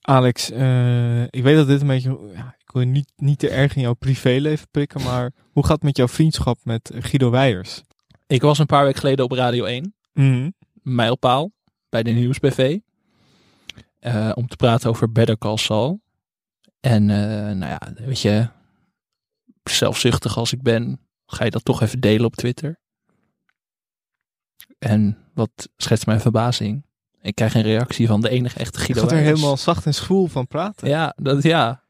Alex, eh, ik weet dat dit een beetje... Ja, ik wil niet, niet te erg in jouw privéleven prikken, maar hoe gaat het met jouw vriendschap met Guido Weijers? Ik was een paar weken geleden op Radio 1, Mhm. mijlpaal, bij de Nieuwsbv. eh, om te praten over Better Call Saul. En eh, nou ja, weet je, zelfzuchtig als ik ben, ga je dat toch even delen op Twitter. En wat schetst mijn verbazing? Ik krijg een reactie van de enige echte Ik Guido gaat er Weijers. helemaal zacht en schoel van praten. Ja, dat, ja.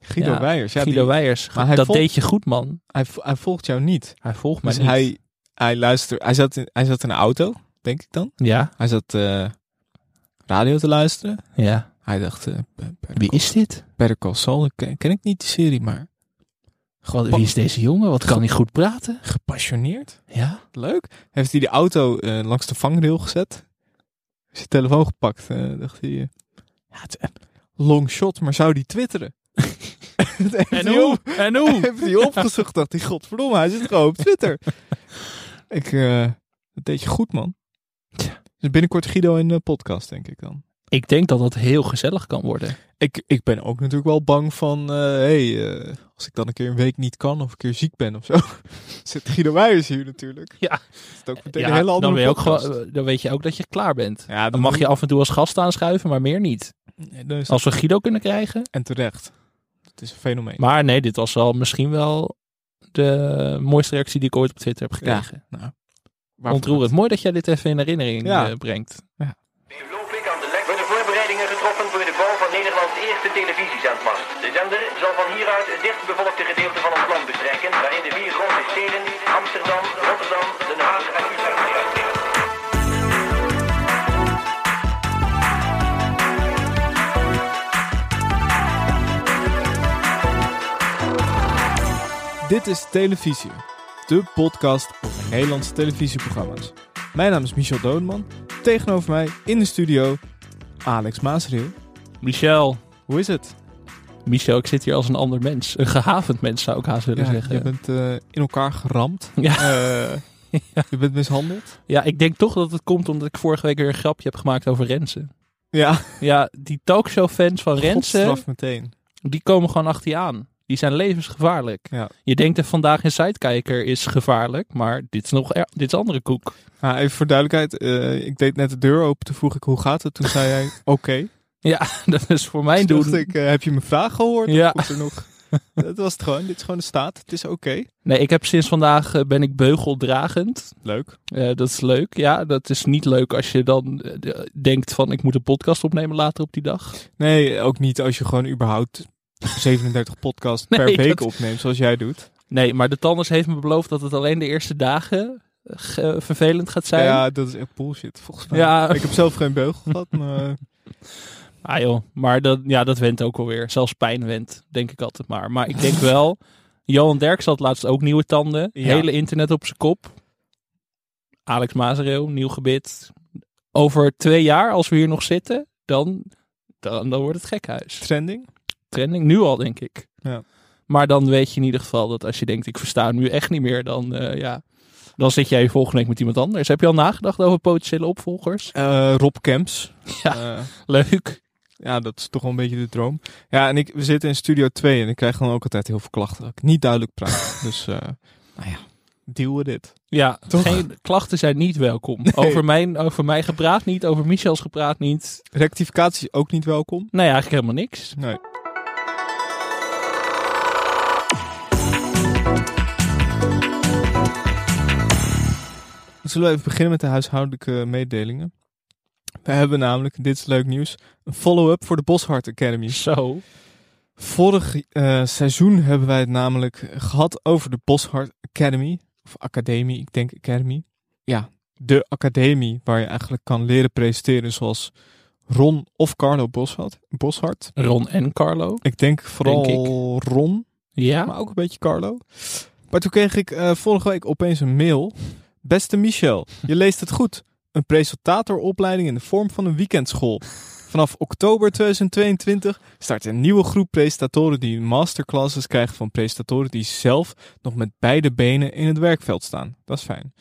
Guido Ja, Weijers, ja, Guido die- Weijers. Maar hij dat volgt- deed je goed, man. hij, vo- hij volgt jou niet. Hij volgt mij Dus niet. hij, hij luistert... Hij zat, in, hij zat in een auto, denk ik dan. Ja, Hij zat eh, radio te luisteren. ja. Hij dacht, eh, Be- Better Wie Call- is dit? Better Call Saul, ik ken, ken ik niet die serie, maar Wat, wie is deze jongen? Wat kan hij goed praten? gepassioneerd. Ja. Leuk. Heeft hij de auto eh, langs de vangrail gezet. Heeft zijn telefoon gepakt. eh, dacht hij, eh, ja, het, eh, long shot, maar zou die twitteren? Het heeft hij op- En hoe? Heeft hij opgezocht, dacht hij, godverdomme, hij zit gewoon op Twitter. ik, eh, dat deed je goed, man. Tja. Dus binnenkort Guido in de podcast, denk ik dan. Ik denk dat dat heel gezellig kan worden. Ik, ik ben ook natuurlijk wel bang van, eh, hey, eh, als ik dan een keer een week niet kan of een keer ziek ben of zo, zit Guido Weijers hier natuurlijk. Ja. Is het ook meteen een hele andere dan, ben je ook podcast. gewoon, eh, dan weet je ook dat je klaar bent. Ja, Dan mag je Oh. af en toe als gast aanschuiven, maar meer niet. Nee, dan is dat- Als we Guido kunnen krijgen. En terecht. Het is een fenomeen. Maar nee, dit was al misschien wel de mooiste reactie die ik ooit op Twitter heb Ja, gekregen. Waarvan- Ontroerend. Mooi dat jij dit even in herinnering Ja. eh, brengt. Meneer Vloopik aan de lek worden voorbereidingen getroffen voor de bouw van Nederlands eerste televisiezendmast. De zender zal van hieruit het dichtbevolkte gedeelte van ons land bestrijken, waarin de vier grote steden Amsterdam, Rotterdam, Den Haag en Utrecht liggen. Dit is Televisie, de podcast over Nederlandse televisieprogramma's. Mijn naam is Michel Doodman. Tegenover mij in de studio Alex Maasreel. Michel. Hoe is het? Michel, ik zit hier als een ander mens. Een gehavend mens zou ik haast willen Ja, zeggen. je bent eh, in elkaar geramd. Ja. Eh, Je bent mishandeld. Ja, ik denk toch dat het komt omdat ik vorige week weer een grapje heb gemaakt over Rensen. Ja, Ja, die talkshow-fans van Rensen, Godstraf meteen. die komen gewoon achter je aan. Die zijn levensgevaarlijk. Ja. Je denkt dat vandaag een sidekijker is gevaarlijk, maar dit is nog er- dit is andere koek. Nou, even voor duidelijkheid, eh, ik deed net de deur open, toen vroeg ik hoe gaat het? Toen zei jij oké. Ja, dat is voor mijn Toen dacht doen. ik, eh, heb je mijn vraag gehoord? Of Ja. komt er nog? Dat was het gewoon, dit is gewoon de staat, het is oké. Nee, ik heb sinds vandaag eh, ben ik beugeldragend. Leuk. Eh, dat is leuk. Ja, dat is niet leuk als je dan eh, de- denkt van ik moet een podcast opnemen later op die dag. Nee, ook niet als je gewoon überhaupt 37 podcasts per Nee, week dat- opneemt, zoals jij doet. Nee, maar de tandarts heeft me beloofd dat het alleen de eerste dagen eh, ge- vervelend gaat zijn. Ja, dat is echt bullshit, volgens mij. Ja. Ik heb zelf geen beugel gehad, maar... eh, Ah joh, maar dat, ja, dat went ook alweer. Zelfs pijn went, denk ik altijd maar. Maar ik denk wel, Johan Derks had laatst ook nieuwe tanden. Ja. Hele internet op zijn kop. Alex Mazereel, nieuw gebit. Over twee jaar, als we hier nog zitten, dan, dan, dan wordt het gekhuis. Trending? Trending nu al, denk ik. Ja. Maar dan weet je in ieder geval dat als je denkt, ik versta nu echt niet meer, dan, eh, ja, dan zit jij volgende week met iemand anders. Heb je al nagedacht over potentiële opvolgers? Eh, Rob Kemps. Ja. Eh, Leuk. Ja, dat is toch wel een beetje de droom. Ja, en ik, we zitten in studio 2 en ik krijg dan ook altijd heel veel klachten dat ik niet duidelijk praat. dus, eh, nou ja, deal with it. Ja, Toch? Geen, klachten zijn niet welkom. Over, mijn, over mij gepraat niet, over Michels gepraat niet. Rectificatie is ook niet welkom. Nee, eigenlijk helemaal niks. Nee. Zullen we even beginnen met de huishoudelijke mededelingen? We hebben namelijk, dit is leuk nieuws, een follow-up voor de Boshart Academy. Zo. Vorig eh, seizoen hebben wij het namelijk gehad over de Boshart Academy. Of Academie, ik denk Academy. Ja, de academie waar je eigenlijk kan leren presenteren zoals Ron of Carlo Boshart. Boshart. Ron en Carlo. Ik denk vooral Denk Ron, Ja. maar ook een beetje Carlo. Maar toen kreeg ik eh, vorige week opeens een mail. Beste Michel, je leest het goed. Een presentatoropleiding in de vorm van een weekendschool. Vanaf oktober 2022 start een nieuwe groep presentatoren die masterclasses krijgen van presentatoren die zelf nog met beide benen in het werkveld staan. Dat is fijn.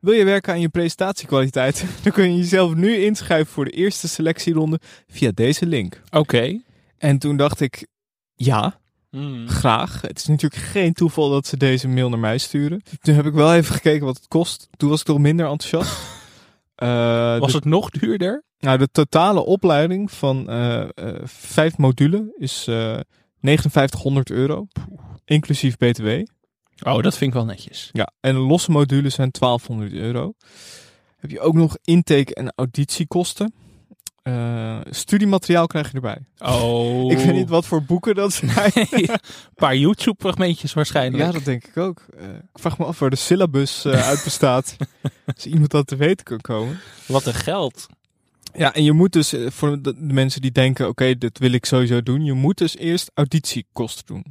Wil je werken aan je presentatiekwaliteit? Dan kun je jezelf nu inschrijven voor de eerste selectieronde via deze link. Oké. En toen dacht ik, ja, Hmm. graag. Het is natuurlijk geen toeval dat ze deze mail naar mij sturen. Toen heb ik wel even gekeken wat het kost. Toen was ik toch minder enthousiast. Eh, Was de, het nog duurder? nou, de totale opleiding van eh, eh, vijf modulen is eh 5900 euro, inclusief btw. Oh, dat vind ik wel netjes. Ja, en de losse modules zijn 1200 euro. Heb je ook nog intake- en auditiekosten. Eh, studiemateriaal krijg je erbij. Oh. Ik weet niet wat voor boeken dat zijn. Een paar YouTube-fragmentjes waarschijnlijk. ja, dat denk ik ook. Eh, ik vraag me af waar de syllabus eh, uit bestaat. Als iemand dat te weten kan komen. Wat een geld. Ja, en je moet dus, eh, voor de de mensen die denken, oké, dit wil ik sowieso doen. Je moet dus eerst auditiekosten doen.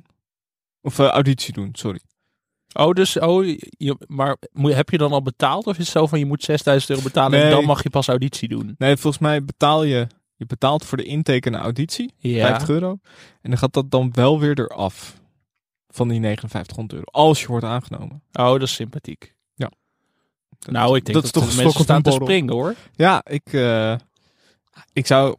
Of eh, auditie doen, sorry. Oh, dus, oh, je, maar moet, heb je dan al betaald? Of is het zo van je moet 6000 euro betalen en Nee. dan mag je pas auditie doen? Nee, volgens mij betaal je, je betaalt voor de intake en de auditie. Ja. 50 euro. En dan gaat dat dan wel weer eraf van die 5900 euro. Als je wordt aangenomen. Oh, dat is sympathiek. Ja. nou, ik denk dat, is toch een mensen stok op staan een te borrel. springen hoor. Ja, ik, eh, ik zou...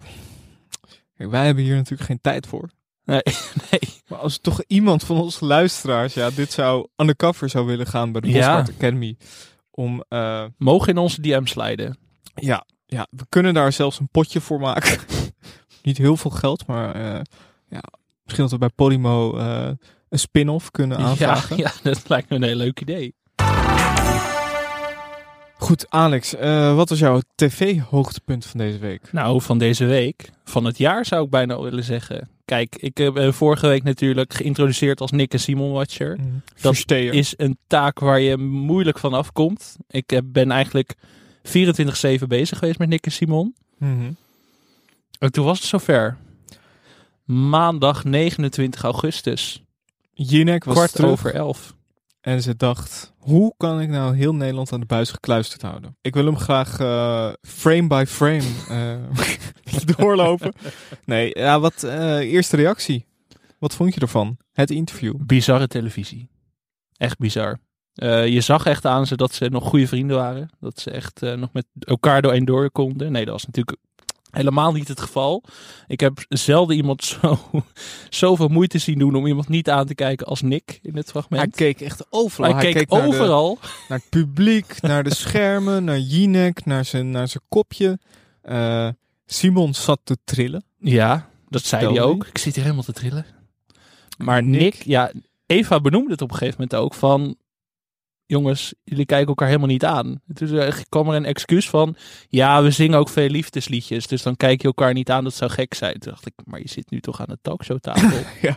Kijk, wij hebben hier natuurlijk geen tijd voor. Nee, nee. Maar als toch iemand van onze luisteraars ja, dit zou undercover zou willen gaan bij de Ja. Bosmart Academy. Om, eh, Mogen in onze DM slijden. ja, ja, we kunnen daar zelfs een potje voor maken. Niet heel veel geld, maar eh, ja, misschien dat we bij Polymo eh, een spin-off kunnen Ja, aanvragen. ja, dat lijkt me een heel leuk idee. Goed, Alex, eh, wat was jouw tv-hoogtepunt van deze week? Nou, van deze week, van het jaar zou ik bijna willen zeggen. Kijk, ik heb eh, vorige week natuurlijk geïntroduceerd als Nick en Simon Watcher. Mm. Dat Versteer. Is een taak waar je moeilijk van afkomt. Ik heb- ben eigenlijk 24-7 bezig geweest met Nick en Simon. Mhm. En toen was het zover. Maandag 29 augustus, Jinek was kwart terug over elf. en ze dacht, hoe kan ik nou heel Nederland aan de buis gekluisterd houden? Ik wil hem graag eh, frame by frame eh, doorlopen. Nee, ja, wat eh, eerste reactie? Wat vond je ervan? Het interview. Bizarre televisie. Echt bizar. Eh, je zag echt aan ze dat ze nog goede vrienden waren. Dat ze echt eh, nog met elkaar doorheen door konden. Nee, dat was natuurlijk helemaal niet het geval. Ik heb zelden iemand zo, zoveel moeite zien doen om iemand niet aan te kijken als Nick in dit Hij fragment. keek echt overal. Hij, keek, naar de- overal. Naar, het publiek, naar de schermen, naar Jinek, naar zijn, naar zijn kopje. Eh, Simon zat te trillen. Ja, dat zei Vertel hij me. ook. Ik zit hier helemaal te trillen. Maar Nick- Nick, ja, Eva benoemde het op een gegeven moment ook van... Jongens, jullie kijken elkaar helemaal niet aan. Toen eh, kwam er een excuus van... Ja, we zingen ook veel liefdesliedjes, dus dan kijk je elkaar niet aan. Dat zou gek zijn. Toen dacht ik, maar je zit nu toch aan de talkshowtafel? Ja.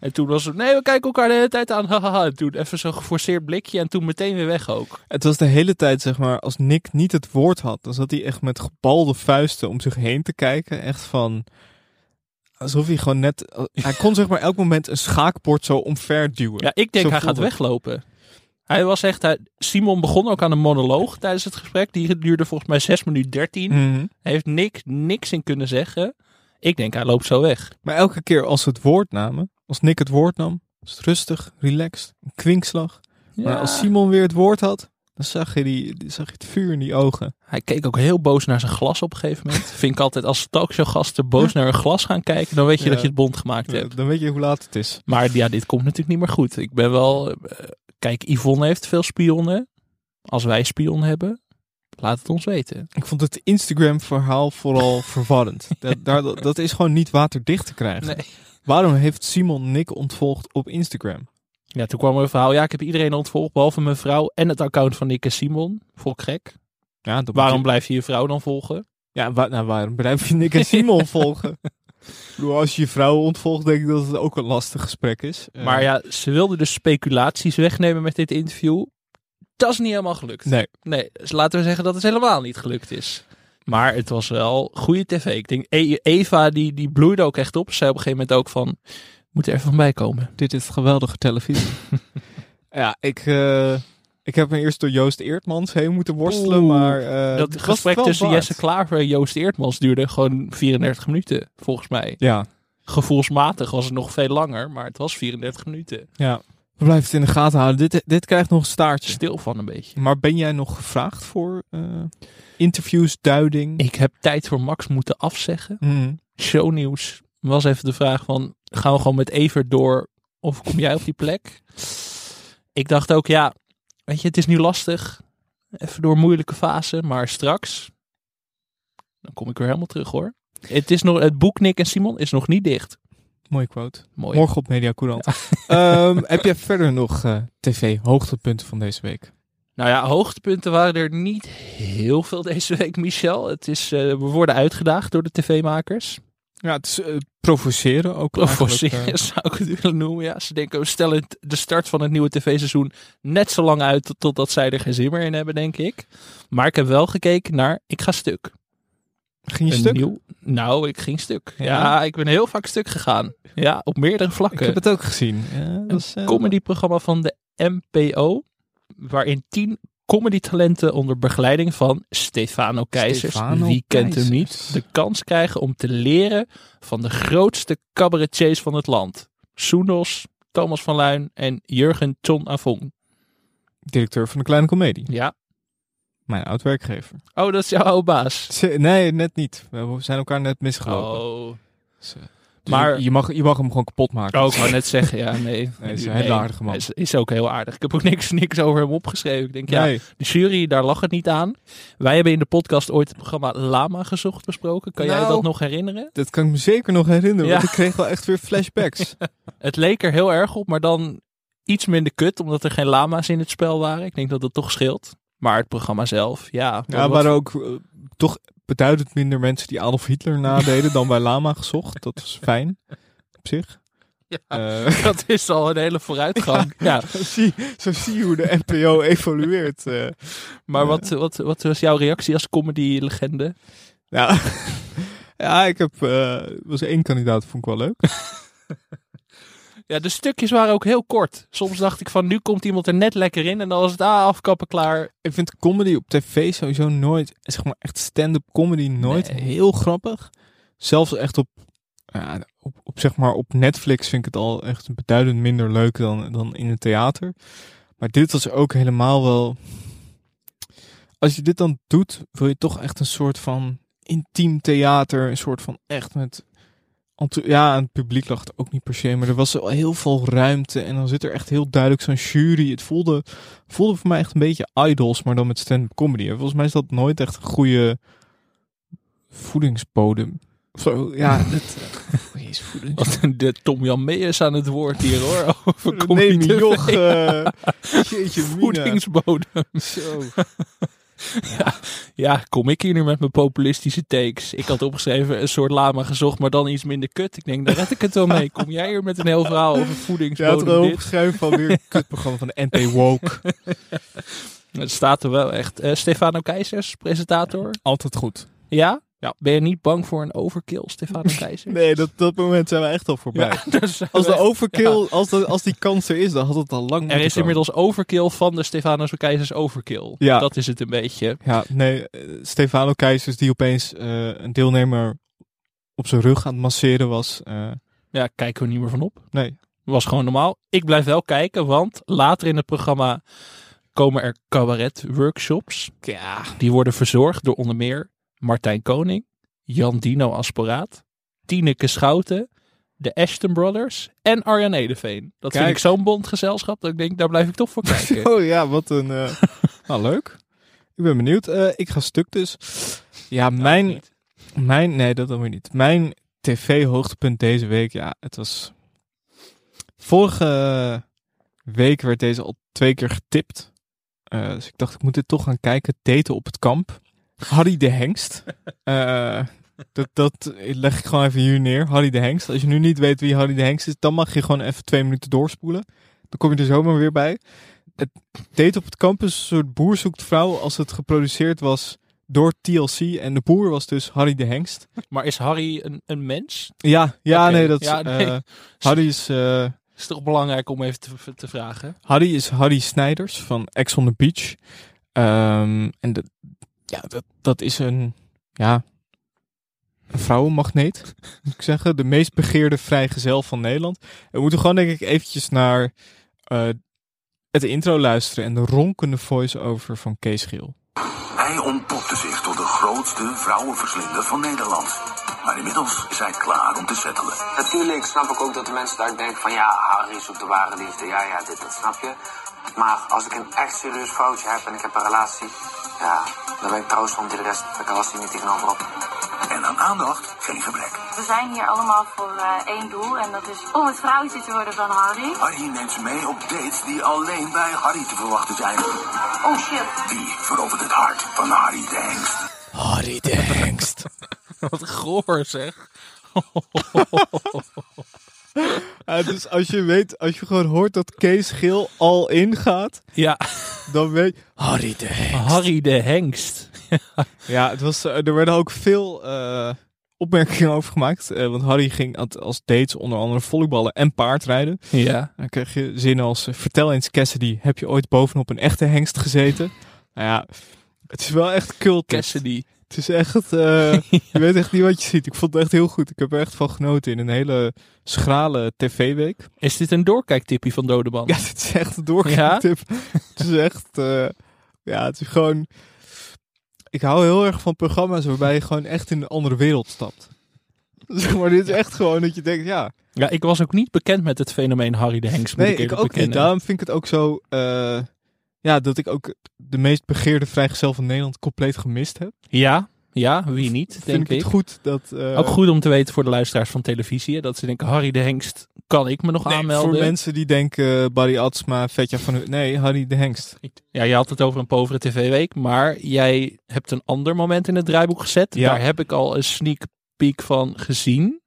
En toen was het, nee, we kijken elkaar de hele tijd aan. Hahaha. En toen even zo'n geforceerd blikje en toen meteen weer weg ook. Het was de hele tijd, zeg maar, als Nick niet het woord had, dan zat hij echt met gebalde vuisten om zich heen te kijken. Echt van. Alsof hij gewoon net. eh, Hij kon zeg maar elk moment een schaakbord zo omver duwen. Ja, ik denk Zo hij voelde gaat het. weglopen. Hij was echt, hij- Simon begon ook aan een monoloog tijdens het gesprek. Die duurde volgens mij 6 minuten 13. Mhm. Hij heeft Nick niks in kunnen zeggen. Ik denk, hij loopt zo weg. Maar elke keer als ze het woord namen, als Nick het woord nam, was het rustig, relaxed, een kwinkslag. Maar als Simon weer het woord had, dan zag je, die, die- zag je het vuur in die ogen. Hij keek ook heel boos naar zijn glas op een gegeven moment. Vind ik altijd, als talkshowgasten boos naar hun glas gaan kijken, dan weet je Ja. dat je het bond gemaakt Ja, hebt. dan weet je hoe laat het is. Maar ja, dit komt natuurlijk niet meer goed. Ik ben wel... eh, kijk, Yvonne heeft veel spionnen. Als wij spion hebben, laat het ons weten. Ik vond het Instagram-verhaal vooral verwarrend. Dat, daar, dat dat is gewoon niet waterdicht te krijgen. Waarom heeft Simon Nick ontvolgd op Instagram? Ja, toen kwam er een verhaal. Ja, ik heb iedereen ontvolgd, behalve mijn vrouw en het account van Nick en Simon. Vol gek. Ja, dat Waarom moet blijf je je vrouw dan volgen? je- ja, wa- nou, waarom blijf je Nick en Simon volgen? Ik bedoel, als je je vrouw ontvolgt, denk ik dat het ook een lastig gesprek is. Eh, Maar ja, ze wilden dus speculaties wegnemen met dit interview. Dat is niet helemaal gelukt. Nee, Nee, dus laten we zeggen dat het helemaal niet gelukt is. Maar het was wel goede tv. Ik denk, E- Eva die, die bloeide ook echt op. Ze zei op een gegeven moment ook van, moet er even van bij komen. dit is geweldige televisie. ja, ik, eh, ik heb me eerst door Joost Eertmans heen moeten worstelen, Oeh, maar... eh, het was dat het gesprek wel tussen waard. Jesse Klaver en Joost Eertmans duurde gewoon 34 minuten, volgens mij. Ja, Gevoelsmatig was het nog veel langer, maar het was 34 minuten. ja. We blijven het in de gaten houden. Dit, dit krijgt nog een staartje. Stil van een beetje. Maar ben jij nog gevraagd voor eh, interviews, duiding? Ik heb tijd voor Max moeten afzeggen. Mhm. Shownieuws was even de vraag van... gaan we gewoon met Evert door of kom jij op die plek? Ik dacht ook, ja, weet je, het is nu lastig. Even door een moeilijke fase, maar straks... dan kom ik weer helemaal terug, hoor. Het, is nog, het boek Nick en Simon is nog niet dicht. Mooie quote. Mooi. Morgen op Media Courant. Ehm, heb jij verder nog eh, tv-hoogtepunten van deze week? Nou ja, hoogtepunten waren er niet heel veel deze week, Michel. Het is, eh, we worden uitgedaagd door de tv-makers. Ja, het is eh, provoceren ook. Provoceren eigenlijk, eh. zou ik het willen noemen. Ja, ze denken, we stellen het- de start van het nieuwe tv-seizoen net zo lang uit tot- totdat zij er geen zin meer in hebben, denk ik. Maar ik heb wel gekeken naar Ik ga stuk. Ging je Een stuk? nieuw- nou, ik ging stuk. Ja? Ja? ik ben heel vaak stuk gegaan. Ja, op meerdere Ik vlakken. heb het ook gezien. Ja, dat is, eh, Een comedyprogramma van de NPO, waarin tien comedytalenten onder begeleiding van Stefano Keizers, Stefano wie kent hem Keizers. niet, de kans krijgen om te leren van de grootste cabaretiers van het land. Soenos, Thomas van Luin en Jurgen Ton Avon. Directeur van de Kleine Comedie. Ja. Mijn oud-werkgever. Oh, dat is jouw oude baas. Ze- Nee, net niet. We zijn elkaar net misgelopen. Oh. Dus, eh, Maar- je, je mag, je mag hem gewoon kapot maken. Oh, ik wou net zeggen, ja, nee. Nee, is een hele aardige man. Hij Is, is ook heel aardig. Ik heb ook niks, niks over hem opgeschreven. Ik denk, ja, Nee. De jury, daar lag het niet aan. Wij hebben in de podcast ooit het programma Lama gezocht besproken. Kan jij Nou. dat nog herinneren? Dat kan ik me zeker nog herinneren, Ja. want ik kreeg wel echt weer flashbacks. Het leek er heel erg op, maar dan iets minder kut, omdat er geen lama's in het spel waren. Ik denk dat dat toch scheelt. Maar het programma zelf, ja. wat- ja, wat- waren ook eh, toch beduidend minder mensen die Adolf Hitler nadeden dan bij Lama gezocht. Dat was fijn, op zich. Ja. Eh, Dat is al een hele vooruitgang. Ja. zie, zo zie je hoe de NPO evolueert. eh. Maar Ja. wat, wat, wat was jouw reactie als comedy-legende? ja. ja, ik heb... eh, er was één kandidaat, vond ik wel leuk. Ja, de stukjes waren ook heel kort. Soms dacht ik van, nu komt iemand er net lekker in en dan is het ah, afkappen klaar. Ik vind comedy op tv sowieso nooit, zeg maar echt stand-up comedy nooit Nee. heel grappig. Zelfs echt op, ja, op, op, zeg maar op Netflix vind ik het al echt beduidend minder leuk dan, dan in het theater. Maar dit was ook helemaal wel... Als je dit dan doet, wil je toch echt een soort van intiem theater. Een soort van echt met... enthou- Ja, en het publiek lag het ook niet per se, maar er was wel heel veel ruimte. En dan zit er echt heel duidelijk zo'n jury. Het voelde voelde voor mij echt een beetje idols, maar dan met stand-up comedy. En volgens mij is dat nooit echt een goede voedingsbodem. Of Zo, ja, het, oh, jezus, voeding. Wat de Tom Jan Meijers aan het woord hier hoor. Oh, Over Nee, comedy. joch. eh jeetje, mina. voedingsbodem. Zo. Ja, kom ik hier nu met mijn populistische takes? Ik had opgeschreven een soort lama gezocht, maar dan iets minder kut. Ik denk, daar red ik het wel mee. Kom jij hier met een heel verhaal over Je had voedingsbodem? er ook dit? opgeschreven van weer een kutprogramma van de NP Woke. Het staat er wel echt. Eh, Stefano Keizers, presentator. Altijd goed. Ja? Ja. Ben je niet bang voor een overkill, Stefano Keizers? Nee, dat, dat moment zijn we echt al voorbij. Dus, Als de overkill, als, de, als die kans er is, dan had het al lang er moeten is komen. inmiddels overkill van de Stefano Keizers overkill. Ja. Dat is het een beetje. Ja, nee, eh, Stefano Keizers die opeens eh, een deelnemer op zijn rug aan het masseren was. eh, Ja, kijken we niet meer van op. nee, was gewoon normaal. Ik blijf wel kijken, want later in het programma komen er cabaret-workshops. Ja. Die worden verzorgd door onder meer Martijn Koning, Jan Dino Asporaat, Tineke Schouten, de Ashton Brothers en Arjan Edeveen. Dat Kijk. vind ik zo'n bond gezelschap dat ik denk, daar blijf ik toch voor kijken. Oh ja, wat een. eh, nou, leuk. Ik ben benieuwd. Eh, ik ga stuk dus. Ja, mijn. niet. mijn nee, dat dan weer niet. Mijn tv-hoogtepunt deze week. Ja, het was. Vorige week werd deze al twee keer getipt. Eh, dus ik dacht, ik moet dit toch gaan kijken. Daten op het kamp. Harry de Hengst. Eh, dat, dat leg ik gewoon even hier neer. Harry de Hengst. Als je nu niet weet wie Harry de Hengst is, dan mag je gewoon even twee minuten doorspoelen. Dan kom je er zomaar weer bij. Het Daten op het kamp is een soort boer zoekt vrouw als het geproduceerd was door TLC. En de boer was dus Harry de Hengst. Maar is Harry een, een mens? Ja, ja Oké, nee, dat is... ja, nee. eh, Harry is... eh, Is toch belangrijk om even te, te vragen? Harry is Harry Snijders van Ex on the Beach. Ehm, en dat, ja, dat, dat is een, ja, een vrouwenmagneet, moet ik zeggen. De meest begeerde vrijgezel van Nederland. We moeten gewoon denk ik eventjes naar eh, het intro luisteren en de ronkende voice-over van Kees Giel. Hij ontpopte zich tot de grootste vrouwenverslinder van Nederland. Maar inmiddels is hij klaar om te settelen. Natuurlijk snap ik ook dat de mensen daar denken van ja, Harry zoekt de ware liefde, ja, ja, dit, dat snap je. Maar als ik een echt serieus foutje heb en ik heb een relatie, ja, dan ben ik trouwens van de rest, daar kan Lassie niet tegenover op. En aan aandacht geen gebrek. We zijn hier allemaal voor eh, één doel en dat is om het vrouwtje te worden van Harry. Harry neemt ze mee op dates die alleen bij Harry te verwachten zijn. Oh shit. Die verovert het hart van Harry Tanks. Harry de Hengst. Wat goor zeg. dus als je weet, als je gewoon hoort dat Kees Giel al ingaat, Ja, dan weet je... Harry de Harry de Hengst. Ja, het was, eh, er werden ook veel eh, opmerkingen over gemaakt. eh, want Harry ging at- als dates onder andere volleyballen en paardrijden. Ja. Dan kreeg je zinnen als: eh, Vertel eens, Cassidy, heb je ooit bovenop een echte hengst gezeten? nou ja, het is wel echt cult. Cassidy. Het is echt, eh, je weet echt niet wat je ziet. Ik vond het echt heel goed. Ik heb er echt van genoten in een hele schrale tv-week. Is dit een doorkijktippie van Dodeman? Ja, dit is echt een doorgeknipt. Het is echt, eh, ja, het is gewoon. Ik hou heel erg van programma's waarbij je gewoon echt in een andere wereld stapt. Zeg maar, dit is echt gewoon dat je denkt, ja, Ja, ik was ook niet bekend met het fenomeen Harry de Hengst. moet Nee, ik eerlijk ook niet. bekennen. Daarom vind ik het ook zo... eh, ja, dat ik ook de meest begeerde vrijgezel van Nederland compleet gemist heb. Ja, ja, wie niet, vind denk ik ik. het goed dat... eh, Ook goed om te weten voor de luisteraars van televisie. hè, Dat ze denken, Harry de Hengst, kan ik me nog nee, aanmelden? Voor mensen die denken eh, Barry Atsma, Vetja van... Hu- Nee, Harry de Hengst. Ja, je had het over een povere tv-week. Maar jij hebt een ander moment in het draaiboek gezet. Ja. Daar heb ik al een sneak peek van gezien.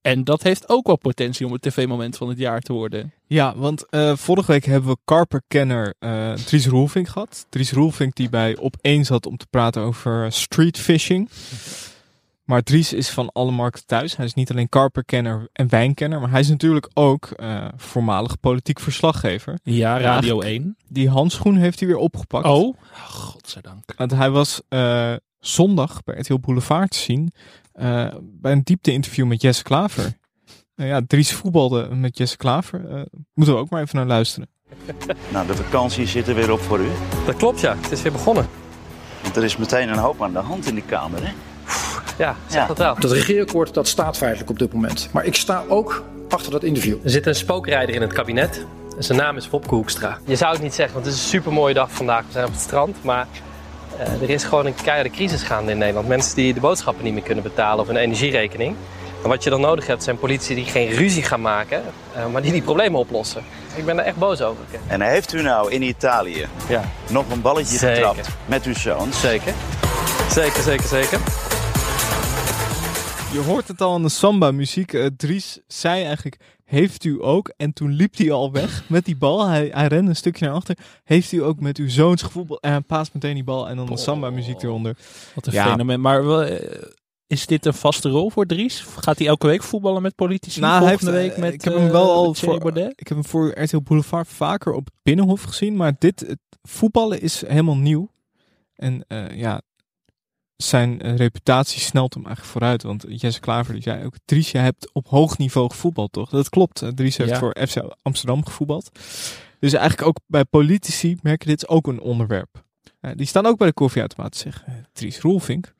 En dat heeft ook wel potentie om het tv-moment van het jaar te worden. Ja, want eh, vorige week hebben we karperkenner eh Dries Roelvink gehad. Dries Roelvink die bij Opeen zat om te praten over eh, street fishing. Maar Dries is van alle markten thuis. Hij is niet alleen karperkenner en wijnkenner, maar hij is natuurlijk ook eh, voormalig politiek verslaggever. Ja, Radio 1. Die handschoen heeft hij weer opgepakt. Oh, godzijdank. Want hij was eh, zondag bij RTL Boulevard te zien eh, bij een diepte-interview met Jesse Klaver. Nou ja, Dries voetbalde met Jesse Klaver. Eh, moeten we ook maar even naar luisteren. Nou, de vakantie zit er weer op voor u. Dat klopt, ja. Het is weer begonnen. Want er is meteen een hoop aan de hand in de Kamer, hè? Ja, zeg Ja. dat wel. Dat regeerakkoord dat staat feitelijk op dit moment. Maar ik sta ook achter dat interview. Er zit een spookrijder in het kabinet. En zijn naam is Wopke Hoekstra. Je zou het niet zeggen, want het is een supermooie dag vandaag. We zijn op het strand, maar eh, er is gewoon een keiharde crisis gaande in Nederland. Mensen die de boodschappen niet meer kunnen betalen of hun energierekening. En wat je dan nodig hebt, zijn politici die geen ruzie gaan maken, eh, maar die die problemen oplossen. Ik ben daar echt boos over. En heeft u nou in Italië Ja, nog een balletje Zeker. getrapt met uw zoon? zeker. Zeker, zeker, zeker. Je hoort het al aan de samba-muziek. Eh, Dries zei eigenlijk, heeft u ook? En toen liep hij al weg met die bal. Hij, hij rende een stukje naar achter. Heeft u ook met uw zoons gevoetbald? En hij paast meteen die bal en dan de samba-muziek eronder. Wat een Ja. fenomeen. Maar wel, eh, is dit een vaste rol voor Dries? Gaat hij elke week voetballen met politici? Nou, hij Volgende heeft, week eh, met ik heb hem wel eh, al met Thierry voor, Baudet? ik heb hem voor RTL Boulevard vaker op het Binnenhof gezien, maar dit het voetballen is helemaal nieuw. En eh, ja, zijn eh, reputatie snelt hem eigenlijk vooruit, want Jesse Klaver die zei ook, Dries, je hebt op hoog niveau gevoetbald, toch? Dat klopt. Eh, Dries heeft Ja. voor FC Amsterdam gevoetbald. Dus eigenlijk ook bij politici merk je, dit is ook een onderwerp. Eh, die staan ook bij de koffieautomaat, zeg. eh, Dries Roelvink.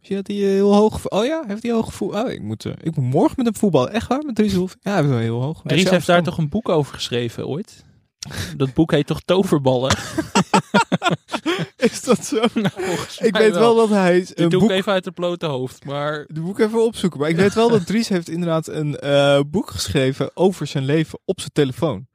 Zie je dat hij eh, heel hoog... Oh ja, heeft hij hoog voetbal? Oh, ik moet, eh, ik moet morgen met hem voetballen. Echt waar, met Dries Roelvink? Ja, hij heeft wel heel hoog. Dries Zelfs heeft daar dan. toch een boek over geschreven ooit? Dat boek heet toch Toverballen? Nou, Is dat zo? Volgens ik mij weet wel dat hij Dit een doe boek... ik even uit het blote hoofd, maar... De boek even opzoeken. Maar ik weet wel dat Dries heeft inderdaad een eh, boek geschreven over zijn leven op zijn telefoon.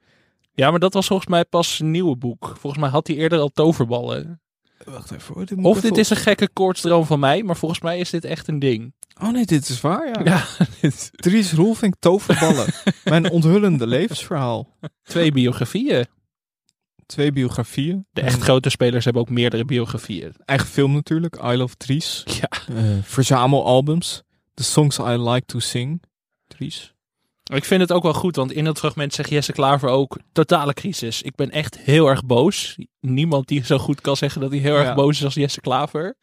Ja, maar dat was volgens mij pas een nieuwe boek. Volgens mij had hij eerder al toverballen. Wacht even hoor. Dit moet Of ik even dit is een gekke koortsdroom van mij, maar volgens mij is dit echt een ding. op- Oh nee, dit is waar, ja. Ja, dit- Dries Roelvink, toverballen. Mijn onthullende levensverhaal. twee biografieën. Twee biografieën. De echt grote spelers hebben ook meerdere biografieën. Eigen film natuurlijk, I Love Dries. Ja. Eh, verzamelalbums. The Songs I Like to Sing. Dries. Ik vind het ook wel goed, want in dat fragment zegt Jesse Klaver ook... totale crisis. Ik ben echt heel erg boos. Niemand die zo goed kan zeggen dat hij heel Ja. erg boos is als Jesse Klaver.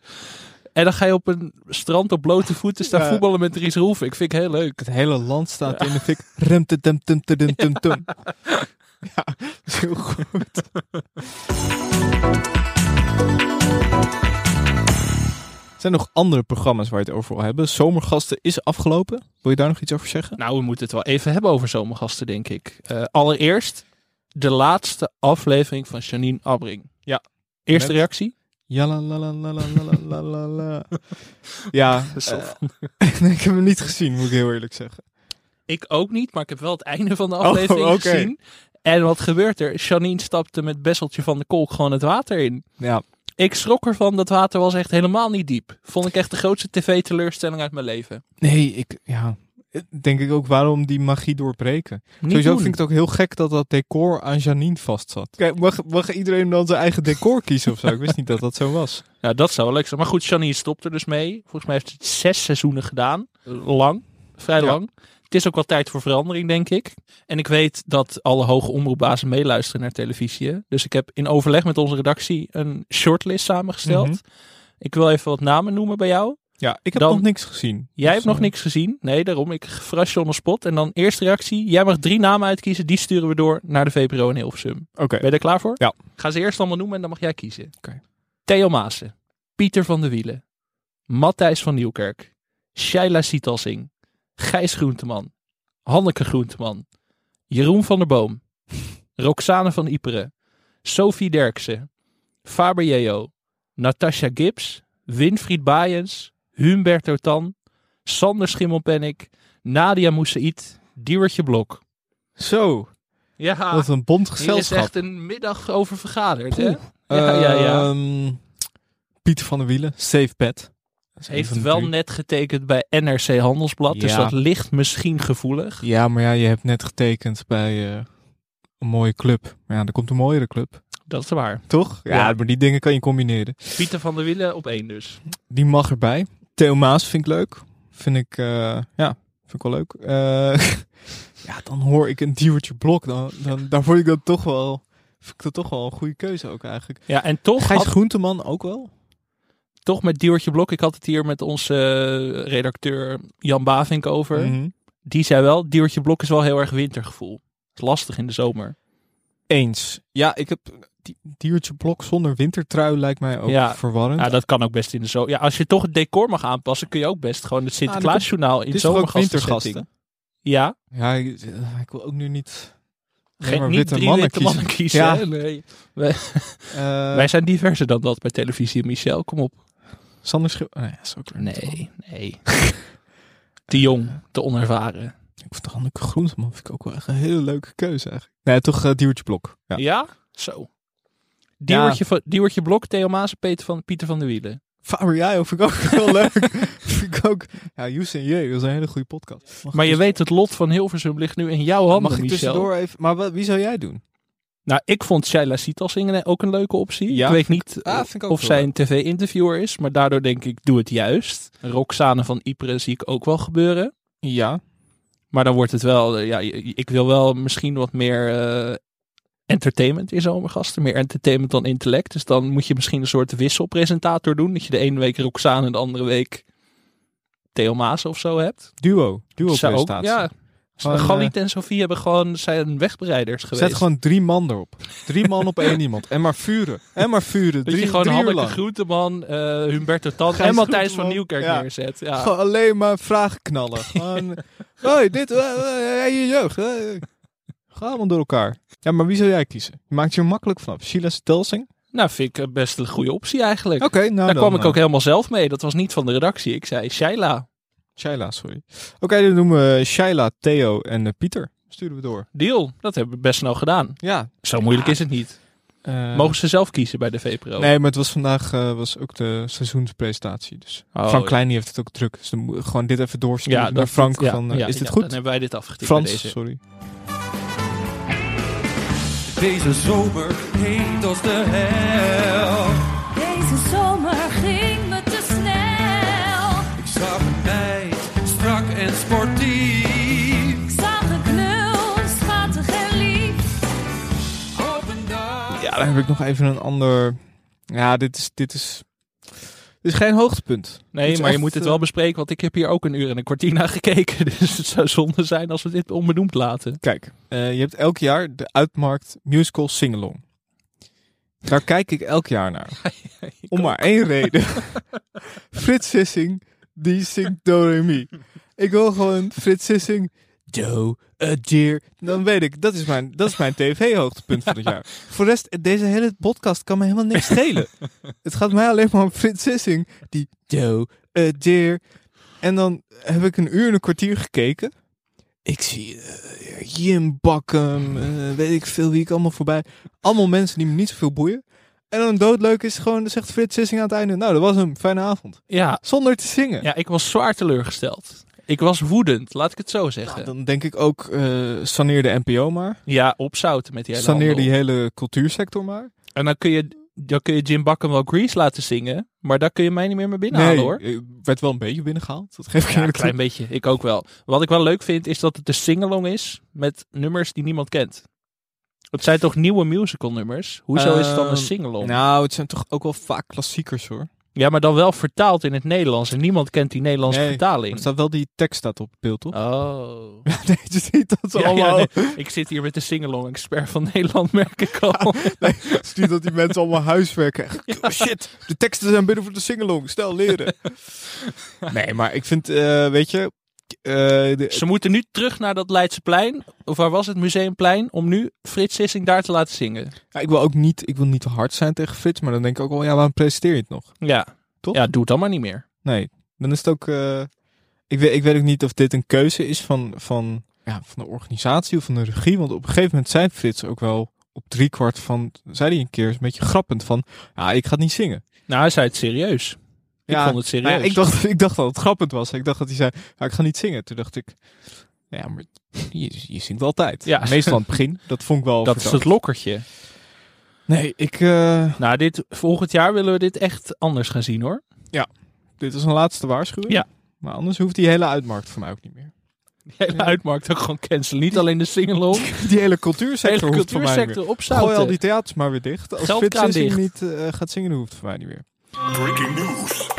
En dan ga je op een strand op blote voeten staan Ja. voetballen met Dries Roelvink. Ik vind ik heel leuk. Het hele land staat in de fik. Rem, te, tem, tem, te, dem, tem, tem. is heel goed. Zijn er nog andere programma's waar je het over wil hebben? Zomergasten is afgelopen. Wil je daar nog iets over zeggen? Nou, we moeten het wel even hebben over zomergasten, denk ik. Eh, allereerst de laatste aflevering van Janine Abbring. Ja. Eerste Met- reactie? Ja, la, la, la, la, la, la, la, la, la. Ja, eh, Eh, nee, ik heb hem niet gezien, moet ik heel eerlijk zeggen. ik ook niet, maar ik heb wel het einde van de aflevering oké. gezien. Oh, En wat gebeurt er? Janine stapte met Besseltje van de Kolk gewoon het water in. Ja, Ik schrok ervan, dat water was echt helemaal niet diep. Vond ik echt de grootste tv-teleurstelling uit mijn leven. nee, ik, ja, eh, denk ik ook waarom die magie doorbreken. Niet Sowieso doen. vind ik het ook heel gek dat dat decor aan Janine vast zat. Kijk, mag, mag iedereen dan zijn eigen decor kiezen of zo? Ik wist niet dat dat zo was. Ja, dat zou wel leuk zijn. Maar goed, Janine stopt er dus mee. Volgens mij heeft ze het zes seizoenen gedaan. Lang. Vrij Ja. lang. Het is ook wel tijd voor verandering, denk ik. En ik weet dat alle hoge omroepbazen meeluisteren naar televisie. hè. Dus ik heb in overleg met onze redactie een shortlist samengesteld. Mhm. Ik wil even wat namen noemen bij jou. Ja, ik heb Dan- nog niks gezien. Jij hebt nog niks. niks gezien. Nee, daarom. Ik verras je on the spot. En dan eerste reactie. Jij mag drie namen uitkiezen. Die sturen we door naar de VPRO in Hilversum. Oké, Ben je daar klaar voor? Ja. Ga ze eerst allemaal noemen en dan mag jij kiezen. Oké. Theo Maassen, Pieter van de Wielen, Matthijs van Nieuwkerk, Shaila Sitalsing, Gijs Groenteman, Hanneke Groenteman, Jeroen van der Boom, Roxane van Iperen, Sophie Derksen, Faber Jeo, Natasha Gibbs, Winfried Baaiens, Humberto Tan, Sander Schimmelpennik, Nadia Moussaïd, Diewertje Blok. zo. Ja. Wat een bond Hier is gezelschap. echt een middag over vergaderd, hè? Poeh. Ja, ja, ja. Ehm, Pieter van der Wielen, Safe Pet. Dat is een van Heeft de wel drie. net getekend bij NRC Handelsblad, dus Ja. dat ligt misschien gevoelig. Ja, maar ja, je hebt net getekend bij eh, een mooie club. Maar ja, er komt een mooiere club. Dat is waar. Toch? Ja, Ja. maar die dingen kan je combineren. Pieter van der Wielen op één dus. Die mag erbij. Theo Maas vind ik leuk. Vind ik, eh, ja, vind ik wel leuk. Eh, ja, dan hoor ik een Diewertje Blok. Dan, dan, daar vond ik dat toch wel, vind ik dat toch wel een goede keuze ook eigenlijk. Ja, en toch, Gijs had- Groenteman ook wel. toch met Diewertje Blok, ik had het hier met onze eh, redacteur Jan Bavink over. Mhm. Die zei wel, Diewertje Blok is wel heel erg wintergevoel. Het is lastig in de zomer. Eens. Ja, ik heb die, Diewertje Blok zonder wintertrui lijkt mij ook Ja. verwarrend. Ja, dat kan ook best in de zomer. Ja, als je toch het decor mag aanpassen, kun je ook best gewoon het Sinterklaasjournaal in Dit is toch ook zomergastenzetting. wintergasten? Ja, Ja, ik, eh, ik wil ook nu niet... alleen geen, maar niet witte drie mannen witte mannen kiezen. Ja. hè? Nee. Eh, Wij zijn diverser dan dat bij televisie, Michel. Kom op. Sander Schil... Nee, Eh, dat is ook weer niet wel. Nee, nee. te jong, te onervaren. Ik vond Hanneke Groenteman vind ik ook wel echt een hele leuke keuze eigenlijk. Nee, toch eh Diewertje Blok. Ja. Ja? Zo. Diewertje, van, Diewertje Blok, Theo Maas, Peter van, Pieter van der Wielen. Faber Jajo vind ik ook heel leuk. vind ik ook... Ja, Joes en Jee, dat is een hele goede podcast. Mag Maar ik je dus- weet, het lot van Hilversum ligt nu in jouw handen, Mag ik Michel. tussendoor even... Maar wat, wie zou jij doen? Nou, ik vond Shaila Sitalsingen ook een leuke optie. Ja, ik weet niet ah, of- vind ik ook of wel zij een tv-interviewer is, maar daardoor denk ik, doe het juist. Roxane van Ypres zie ik ook wel gebeuren. Ja. Maar dan wordt het wel, eh, ja, je- ik wil wel misschien wat meer eh, entertainment in zomergasten. Meer entertainment dan intellect. Dus dan moet je misschien een soort wisselpresentator doen. Dat je de ene week Roxane en de andere week Theo Maas of zo hebt. Duo. Zou ook- Duo-presentatie. Ja. Gewoon, eh, Galit en Sofie hebben gewoon, zijn wegbereiders geweest. Zet gewoon drie man erop. Drie man op één iemand. En maar vuren. En maar vuren. dat je Drie, gewoon drie uur Hanneke lang. Groenteman, eh, Humberto Tan Gijs en Matthijs van Groenteman. Nieuwkerk Ja. neerzet. Ja. Gewoon alleen maar vragen knallen. Gewoon, hoi, dit, eh, eh, eh, je jeugd. eh, eh. Ga allemaal door elkaar. Ja, maar wie zou jij kiezen? Je maakt je er makkelijk vanaf. Sheila Stelsing? Nou, vind ik eh, best een goede optie eigenlijk. Oké, nou Daar dan, kwam ik eh, ook helemaal zelf mee. Dat was niet van de redactie. Ik zei Shaila. Shaila, sorry. Oké, dan noemen we Shaila, Theo en eh, Pieter. Sturen we door. Deal. Dat hebben we best snel gedaan. Ja. Zo moeilijk is het niet. eh, Mogen ze zelf kiezen bij de VPRO? Nee, maar het was vandaag eh, was ook de seizoenspresentatie. Dus Oh, Frank ja. Klein die heeft het ook druk. Dus dan moet ik gewoon dit even doorsturen Ja, naar dat Frank. ja, van, eh, ja, is dit ja, goed? Dan hebben wij dit afgetikt bij Frans, deze. sorry. Deze zomer heet als de hel. Deze zomer ging me te snel. Ik zag een meid, strak en sportief. Ik zag het knul, schattig en lief. Op een dag. Ja, dan heb ik nog even een ander. Ja, dit is. Dit is is geen hoogtepunt. Nee, Het is maar je echt, moet het eh, wel bespreken, want ik heb hier ook een uur en een kwartier naar gekeken. Dus het zou zonde zijn als we dit onbenoemd laten. Kijk, eh, je hebt elk jaar de uitmarkt musical singalong. Daar kijk ik elk jaar naar. Om maar één reden. Frits Sissing, die zingt Do Re Mi. Ik wil gewoon Frits Sissing, Do a Deer. Dan weet ik, dat is mijn, dat is mijn tv-hoogtepunt van het jaar. Voor de rest, deze hele podcast kan me helemaal niks schelen. het gaat mij alleen maar om Frits Sissing, die Do a Deer. En dan heb ik een uur en een kwartier gekeken. Ik zie eh, Jim Bakkum, eh, weet ik veel wie ik allemaal voorbij. Allemaal mensen die me niet zoveel boeien. En dan doodleuk is gewoon, dan zegt Frits Sissing aan het einde. Nou, dat was hem. Fijne avond. Ja. Zonder te zingen. Ja, ik was zwaar teleurgesteld. Ik was woedend, laat ik het zo zeggen. Dan denk ik ook, eh saneer de NPO maar. Ja, opzouten met die hele Saneer handel. die hele cultuursector maar. En dan kun, je, dan kun je Jim Bakken wel Grease laten zingen, maar daar kun je mij niet meer mee binnenhalen nee, hoor. eh, werd wel een beetje binnengehaald. Dat geef ik Ja, een eerlijk toe. klein beetje. Ik ook wel. Wat ik wel leuk vind, is dat het een singalong is met nummers die niemand kent. Het zijn toch nieuwe musical nummers? Hoezo is het dan een Ehm, singalong? Nou, het zijn toch ook wel vaak klassiekers hoor. Ja, maar dan wel vertaald in het Nederlands. En niemand kent die Nederlandse Nee, vertaling. Er staat wel die tekst staat op het beeld, toch? Oh. nee, je ziet dat ze Ja, ja, allemaal... nee. Ik zit hier met de singalong-expert van Nederland, merk ik al. Het is niet dat die mensen allemaal huiswerk krijgen. Oh, Shit, de teksten zijn binnen voor de singalong. Stel, leren. nee, maar ik vind, eh, weet je... eh, de- Ze moeten nu terug naar dat Leidseplein. Of waar was het? Museumplein. Om nu Frits Sissing daar te laten zingen. ja, ik wil ook niet, ik wil niet te hard zijn tegen Frits, maar dan denk ik ook wel, ja, waarom presenteer je het nog? Ja. Toch? Ja, doe het dan maar niet meer. Nee, dan is het ook. eh, ik, weet, ik weet ook niet of dit een keuze is van, van, ja, van de organisatie of van de regie. Want op een gegeven moment zei Frits ook wel op driekwart van. zei hij een keer een beetje grappend van. Ja, ik ga het niet zingen. Nou, hij zei het serieus. Ik vond het serieus. nou ja, ik, dacht, ik dacht dat het grappend was. Ik dacht dat hij zei. Ja, ik ga niet zingen. Toen dacht ik. nou Ja, maar je, je zingt altijd. Ja. Meestal aan het begin. Dat vond ik wel. Dat is het verdacht. lokkertje. Nee, ik. eh, Nou, dit, volgend jaar willen we dit echt anders gaan zien hoor. ja, dit is een laatste waarschuwing. Ja. Maar anders hoeft die hele uitmarkt van mij ook niet meer. De hele uitmarkt ook gewoon cancelen. Niet alleen de singalong. Die hele cultuursector Hele hoeft voor mij niet cultuursector meer. opzouten. Gooi al die theaters maar weer dicht. Als eh, Geldkraan Frits Sissing dicht. niet eh, gaat zingen, dan hoeft het voor mij niet meer. Breaking news.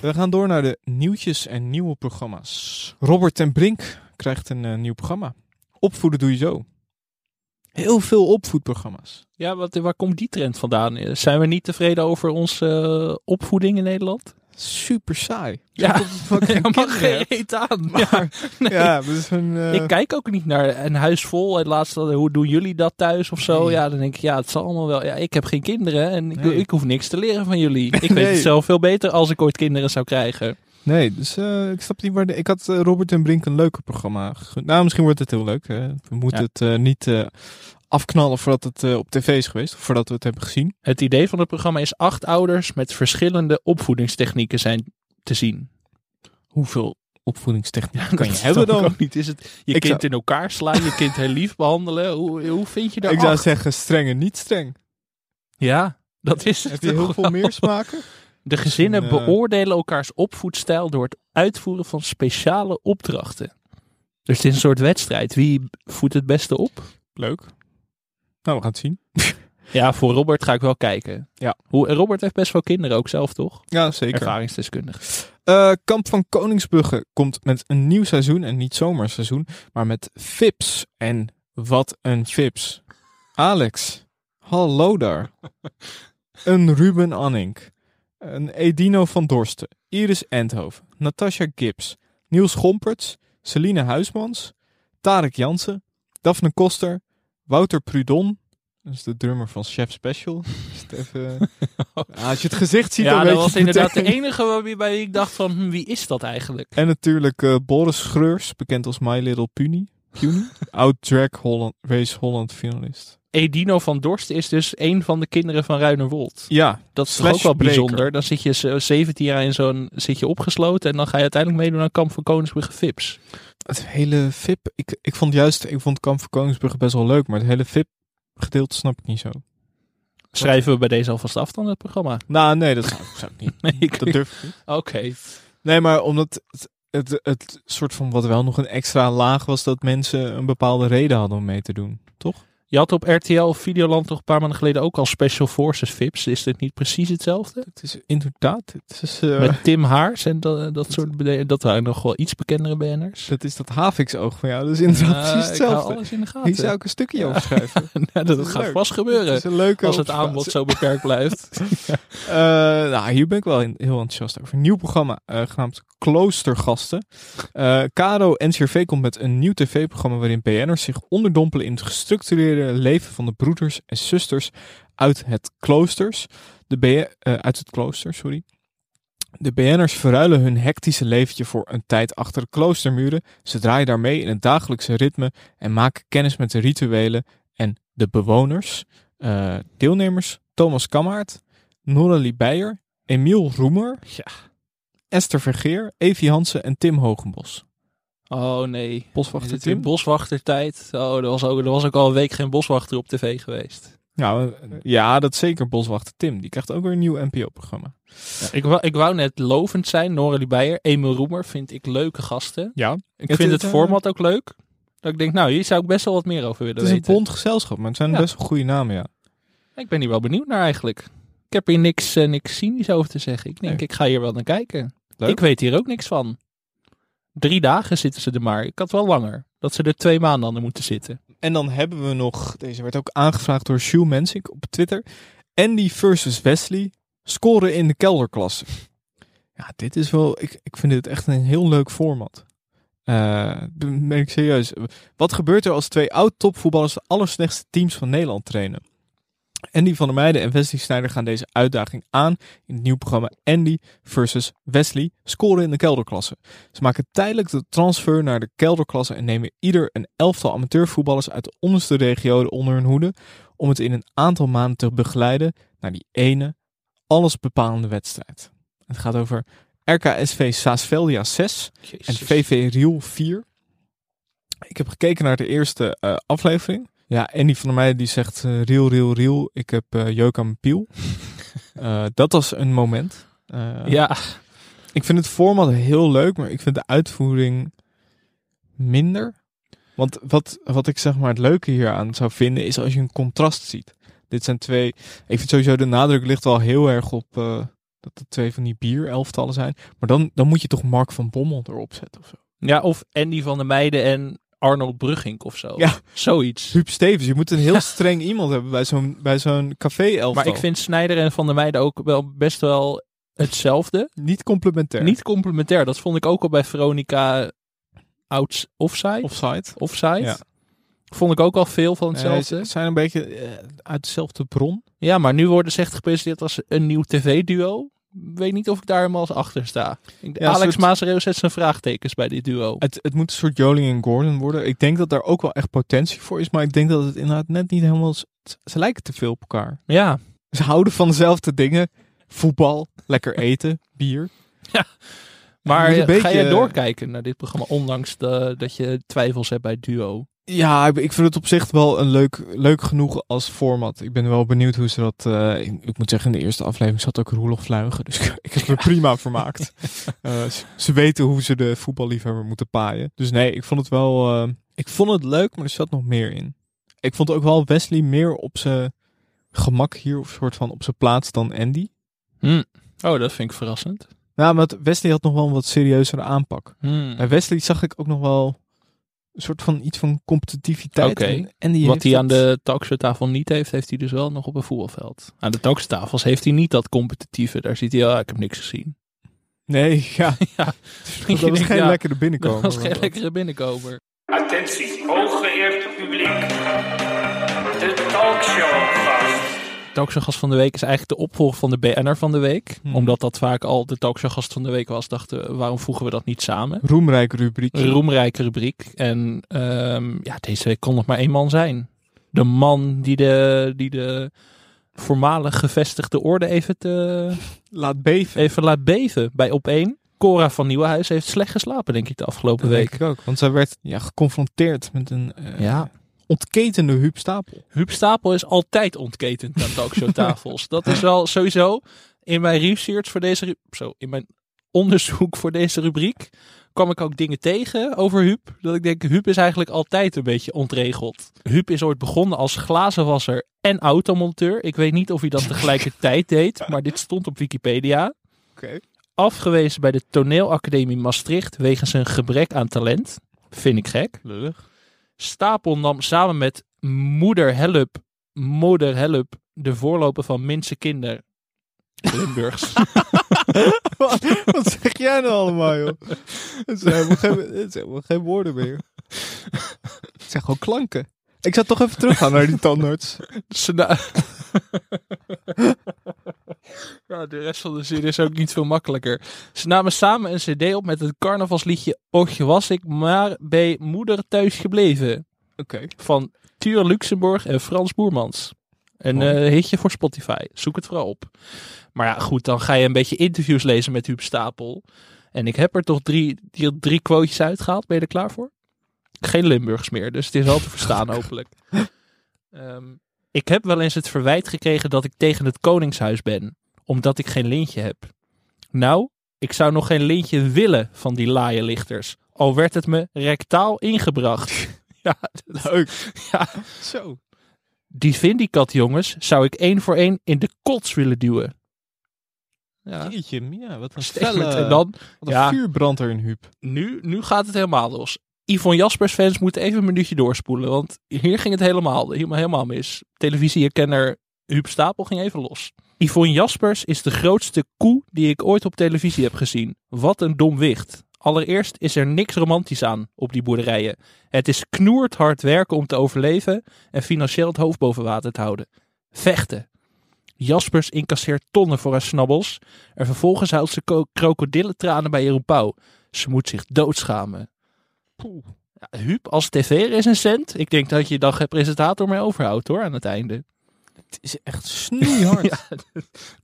We gaan door naar de nieuwtjes en nieuwe programma's. Robert ten Brink krijgt een eh, nieuw programma. Opvoeden doe je zo. Heel veel opvoedprogramma's. Ja, wat, waar komt die trend vandaan? Eh, Zijn we niet tevreden over onze eh, opvoeding in Nederland? Super saai. Ja, helemaal kinderen geen hebt. reet aan. Maar, Ja, dat is een... eh, Ik kijk ook niet naar een huis vol. Het laatste, hoe doen jullie dat thuis of zo? Ja, dan denk ik, ja, het zal allemaal wel. Ja, ik heb geen kinderen en ik, Nee. ik hoef niks te leren van jullie. Ik weet Nee. het zelf veel beter als ik ooit kinderen zou krijgen. Nee, dus eh, ik snap niet waar... De, ik had eh, Robert ten Brink een leuker programma gegund. Nou, misschien wordt het heel leuk. hè. We moeten Ja. het eh, niet eh, afknallen voordat het eh, op tv is geweest. Of voordat we het hebben gezien. Het idee van het programma is acht ouders met verschillende opvoedingstechnieken zijn te zien. hoeveel opvoedingstechniek kan je Dat hebben snap ik dan? ook niet. Is het je Ik kind zou- in elkaar slaan, je kind heel lief behandelen? Hoe, hoe vind je daar Ik zou acht? zeggen streng en niet streng. Ja, dat is het Heb je heel toch veel wel. meer smaken? De gezinnen Misschien, eh, beoordelen elkaars opvoedstijl door het uitvoeren van speciale opdrachten. Dus het is een soort wedstrijd. Wie voedt het beste op? Leuk. Nou, we gaan het zien. Ja, voor Robert ga ik wel kijken. Ja. Hoe, en Robert heeft best veel kinderen ook zelf, toch? Ja, zeker. Ervaringsdeskundig. Eh, Kamp van Koningsbrugge komt met een nieuw seizoen. En niet zomerseizoen, maar met Fips. En wat een Fips. Alex, hallo daar. Een Ruben Annink. Een Edino van Dorsten. Iris Endhoven. Natasha Gibbs. Niels Gomperts. Celine Huismans. Tarek Jansen. Daphne Koster. Wouter Prudon. Dat is de drummer van Chef Special. Is het even... Ah, als je het gezicht ziet, dan Ja, weet dat je was het inderdaad de meteen. enige waarbij ik dacht van, hm, wie is dat eigenlijk? En natuurlijk eh, Boris Schreurs, bekend als My Little Puny. Puny? Oud drag Holland, Race Holland finalist. Edino van Dorst is dus een van de kinderen van Ruinerwold. Ja, Dat is toch Slash ook wel breaker. bijzonder. Dan zit je zo 17 jaar in zo'n zit je opgesloten en dan ga je uiteindelijk meedoen aan Kamp van Koningsbrugge Vips. het hele VIP. Ik, ik vond juist, ik vond Kamp van Koningsbrugge best wel leuk, maar het hele VIP gedeelte snap ik niet zo. Schrijven we bij deze alvast af dan het programma? Nou, nee, dat zou, zou ik niet. Nee, ik- Dat durf ik niet. Oké. Nee, maar omdat het, het, het soort van wat wel nog een extra laag was dat mensen een bepaalde reden hadden om mee te doen, toch? Je had op RTL Videoland toch een paar maanden geleden ook al Special Forces VIPs. Is dit niet precies hetzelfde? Het is inderdaad. Het is, eh, Met Tim Haars en dat, dat soort bede- Dat waren nog wel iets bekendere banners. dat is dat Haviksoog van jou. Dat is inderdaad precies Eh, Ik hou hetzelfde. alles in de gaten. Hier zou ik een stukje over schrijven. Nou, dat, Dat is gaat leuk. vast Dat is gebeuren. een leuke Als het observatie. aanbod zo beperkt blijft. Eh, nou, hier ben ik wel in- heel enthousiast over. Een nieuw programma eh, genaamd Kloostergasten. Eh Caro NCRV komt met een nieuw tv-programma waarin BN'ers zich onderdompelen in het gestructureerde leven van de broeders en zusters uit het kloosters. De BN eh, uit het klooster, sorry. De BN'ers verruilen hun hectische leventje voor een tijd achter de kloostermuren. Ze draaien daarmee in het dagelijkse ritme en maken kennis met de rituelen en de bewoners. Eh, deelnemers Thomas Kammaert, Noralie Beijer, Emiel Roemer, Ja. Esther Vergeer, Evie Hansen en Tim Hogenbos. Oh nee. Boswachter Is het weer Tim? Boswachtertijd. Oh, er was, ook, er was ook al een week geen boswachter op tv geweest. Nou, eh, ja, dat zeker Boswachter Tim. Die krijgt ook weer een nieuw NPO-programma. Ik, wou, ik wou net lovend zijn. Noralie Beijer, Emil Roemer vind ik leuke gasten. Ja, Ik Het vind is, het eh, format ook leuk. Dat ik denk, nou, hier zou ik best wel wat meer over het willen is een weten. bond gezelschap, maar het zijn Ja. best wel goede namen, ja. Ik ben hier wel benieuwd naar eigenlijk. Ik heb hier niks, eh, niks cynisch over te zeggen. Ik denk, Nee. ik ga hier wel naar kijken. Leuk. Ik weet hier ook niks van. Drie dagen zitten ze er maar. Ik had wel langer. Dat ze er twee maanden aan moeten zitten. En dan hebben we nog, deze werd ook aangevraagd door Jules Mensink op Twitter. Andy versus Wesley, scoren in de kelderklasse. Ja, dit is wel, ik, ik vind dit echt een heel leuk format. Eh, ben ben ik serieus. Wat gebeurt er als twee oud-topvoetballers de allerslechtste teams van Nederland trainen? Andy van der Meijden en Wesley Sneijder gaan deze uitdaging aan in het nieuwe programma Andy versus Wesley scoren in de kelderklasse. Ze maken tijdelijk de transfer naar de kelderklasse en nemen ieder een elftal amateurvoetballers uit de onderste regio onder hun hoede om het in een aantal maanden te begeleiden naar die ene allesbepalende wedstrijd. Het gaat over RKSV Saasveldia 6 en VV Riel 4. Ik heb gekeken naar de eerste eh, aflevering. Ja, en die van mij die zegt eh, Riel, Riel, Riel. Ik heb eh jeuk aan mijn piel. Eh, dat was een moment. Eh, Ja, ik vind het format heel leuk, maar ik vind de uitvoering minder. Want wat, wat ik zeg maar het leuke hieraan zou vinden, is als je een contrast ziet. Dit zijn twee. Ik vind sowieso de nadruk ligt wel heel erg op eh, dat het twee van die bierelftallen zijn. Maar dan, dan moet je toch Mark van Bommel erop zetten of zo. ja, of Andy van der Meijden en Arnold Brugink of zo. Ja. Zoiets. Huub Stevens, je moet een heel streng iemand hebben bij zo'n, bij zo'n café-elftal. Maar ik vind Snijder en van der Meijden ook wel best wel hetzelfde. Niet complementair. Niet complementair. Dat vond ik ook al bij Veronica Outs Offside. offside. offside. Ja. Vond ik ook al veel van Nee, hetzelfde. ze zijn een beetje eh, uit dezelfde bron. Ja, maar nu worden ze echt gepresenteerd als een nieuw tv-duo. Weet niet of ik daar helemaal achter sta. Ik- Ja, een Alex soort- Mazereel zet zijn vraagtekens bij dit duo. Het, het moet een soort Joling en Gordon worden. Ik denk dat daar ook wel echt potentie voor is. Maar ik denk dat het inderdaad net niet helemaal... s- Ze lijken te veel op elkaar. Ja, Ze houden van dezelfde dingen. Voetbal, lekker eten, bier. maar moet een eh, ga beetje- jij doorkijken naar dit programma, ondanks de- dat je twijfels hebt bij het duo? Ja, ik- ik vind het op zich wel een leuk, leuk genoeg als format. Ik ben wel benieuwd hoe ze dat... eh, ik, ik moet zeggen, in de eerste aflevering zat ook Roelof Vluigen. Dus ik, ik heb me prima vermaakt. Eh, ze, ze weten hoe ze de voetballiefhebber moeten paaien. Dus nee, ik vond het wel... eh, ik vond het leuk, maar er zat nog meer in. Ik vond ook wel Wesley meer op zijn gemak hier, of soort van op zijn plaats dan Andy. Oh, dat vind ik verrassend. Nou, maar het- Wesley had nog wel een wat serieuzere aanpak. Mm. Hmm. Bij Wesley zag ik ook nog wel een soort van iets van competitiviteit. Oké. En- en die Wat heeft hij aan dat- de talkshowtafel niet heeft, heeft hij dus wel nog op een voetbalveld. Aan de talkshowtafels heeft hij niet dat competitieve. Daar ziet hij, ja, ik heb niks gezien. Nee, ja. Ja, Dat was geen Ja, lekkere binnenkomen. Dat was geen lekkere binnenkomer. Attentie, hooggeëerd publiek. De talkshowgast. Talkshowgast van de week is eigenlijk de opvolger van de BN'er van de week. Hmm. Omdat dat vaak al de talkshowgast van de week was, dachten we, waarom voegen we dat niet samen? Roemrijk rubriek. Een roemrijke rubriek. En ehm, ja, deze week kon nog maar één man zijn. De man die de, die de voormalig gevestigde orde even, te, Laat beven. even laat beven bij Op1. Cora van Nieuwenhuis heeft slecht geslapen, denk ik, de afgelopen Dat denk week. ik ook. Want zij werd ja, geconfronteerd met een eh, Ja, ontketende huupstapel. Huub Stapel is altijd ontketend aan talkshowtafels. dat is wel sowieso in mijn research voor deze... ru- Zo, in mijn onderzoek voor deze rubriek kwam ik ook dingen tegen over Huub. Dat ik denk, Huub is eigenlijk altijd een beetje ontregeld. Huub is ooit begonnen als glazenwasser en automonteur. Ik weet niet of hij dat tegelijkertijd deed, maar dit stond op Wikipedia. Oké. Afgewezen bij de toneelacademie Maastricht wegens een gebrek aan talent. Vind ik gek. Lullig. Stapel nam samen met Moeder Help, Moeder Help, de voorloper van Minse Kinder. Limburgs. wat, wat zeg jij nou allemaal, joh? Het zijn helemaal geen, het zijn helemaal geen woorden meer. Het zijn gewoon klanken. Ik zou toch even teruggaan naar die tandarts. Sna- ja, de rest van de zin is ook niet veel makkelijker. Ze namen samen een cd op met het carnavalsliedje Och was ik maar bij moeder thuis gebleven. Oké. Van Tuur Luxemburg en Frans Boermans. Een Mooi. eh, hitje voor Spotify. Zoek het vooral op. Maar ja, goed, dan ga je een beetje interviews lezen met Huub Stapel. En ik heb er toch drie, die, drie quotejes uitgehaald. Ben je er klaar voor? Geen Limburgs meer, dus het is wel te verstaan hopelijk. Ehm, ik heb wel eens het verwijt gekregen dat ik tegen het Koningshuis ben, omdat ik geen lintje heb. Nou, ik zou nog geen lintje willen van die laaienlichters, al werd het me rectaal ingebracht. ja, Leuk. ja, Zo. die Vindicat jongens zou ik één voor één in de kots willen duwen. Ja, Jeetje, Mia, wat een statement. felle... En dan, Wat een ja. vuurbrand er in Huub. nu, nu gaat het helemaal los. Yvonne Jaspers fans moeten even een minuutje doorspoelen, want hier ging het helemaal, helemaal, helemaal mis. Televisieherkenner Huub Stapel ging even los. Yvonne Jaspers is de grootste koe die ik ooit op televisie heb gezien. Wat een dom wicht. Allereerst is er niks romantisch aan op die boerderijen. Het is knoerd hard werken om te overleven en financieel het hoofd boven water te houden. Vechten. Jaspers incasseert tonnen voor haar snabbels. En vervolgens houdt ze ko- krokodillentranen bij Jeroen Pauw. Ze moet zich doodschamen. Ja, Huub als tv-recensent. Ik denk dat je dan geen presentator meer overhoudt hoor aan het einde. Het is echt snoeihard. ja.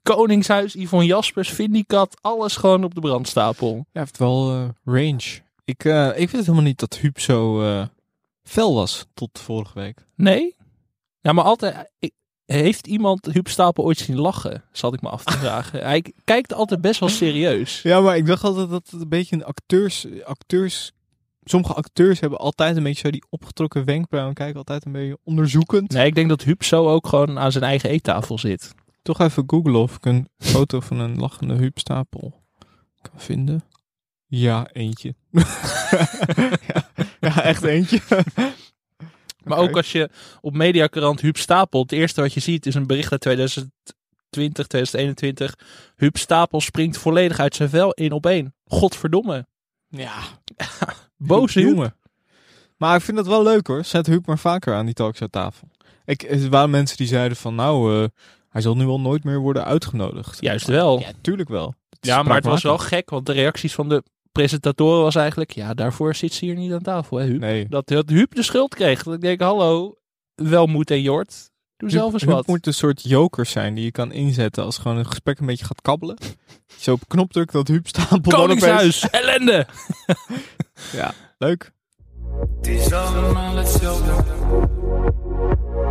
Koningshuis, Yvonne Jaspers, Vindicat. Alles gewoon op de brandstapel. Hij heeft wel eh, range. Ik, eh, ik vind het helemaal niet dat Huub zo eh, fel was tot vorige week. Nee? Ja, maar altijd... ik- heeft iemand Huub Stapel ooit zien lachen? Zat ik me af te vragen. Hij k- kijkt altijd best wel serieus. Ja, maar ik dacht altijd dat het een beetje een acteurs... acteurs sommige acteurs hebben altijd een beetje zo die opgetrokken wenkbrauwen. Kijken altijd een beetje onderzoekend. Nee, ik denk dat Huub zo ook gewoon aan zijn eigen eettafel zit. Toch even googlen of ik een foto van een lachende huupstapel kan vinden. Ja, eentje. ja, ja, echt eentje. Maar Oké. ook als je op Mediakrant Huub Stapel, het eerste wat je ziet is een bericht uit 2020, 2021. Huub Stapel springt volledig uit zijn vel in op één. Godverdomme. ja, Boze Huub. jongen. Maar ik vind dat wel leuk hoor. Zet Huub maar vaker aan die talkshowtafel. Ik, er waren mensen die zeiden van nou, eh, hij zal nu wel nooit meer worden uitgenodigd. Juist wel. Ja, tuurlijk wel. Het is Ja, maar het was wel spraakmakend. gek, want de reacties van de presentatoren was eigenlijk... Ja, daarvoor zit ze hier niet aan tafel, hè Huub. Nee. Dat, dat Huub de schuld kreeg. Dat ik denk, hallo, Welmoed en Jort, doe zelf eens Huub wat. moet een soort jokers zijn die je kan inzetten als gewoon een gesprek een beetje gaat kabbelen. Zo op knop drukt dat Huub stapel dan opeens- Koningshuis, ellende! Ja, leuk. Het is allemaal hetzelfde.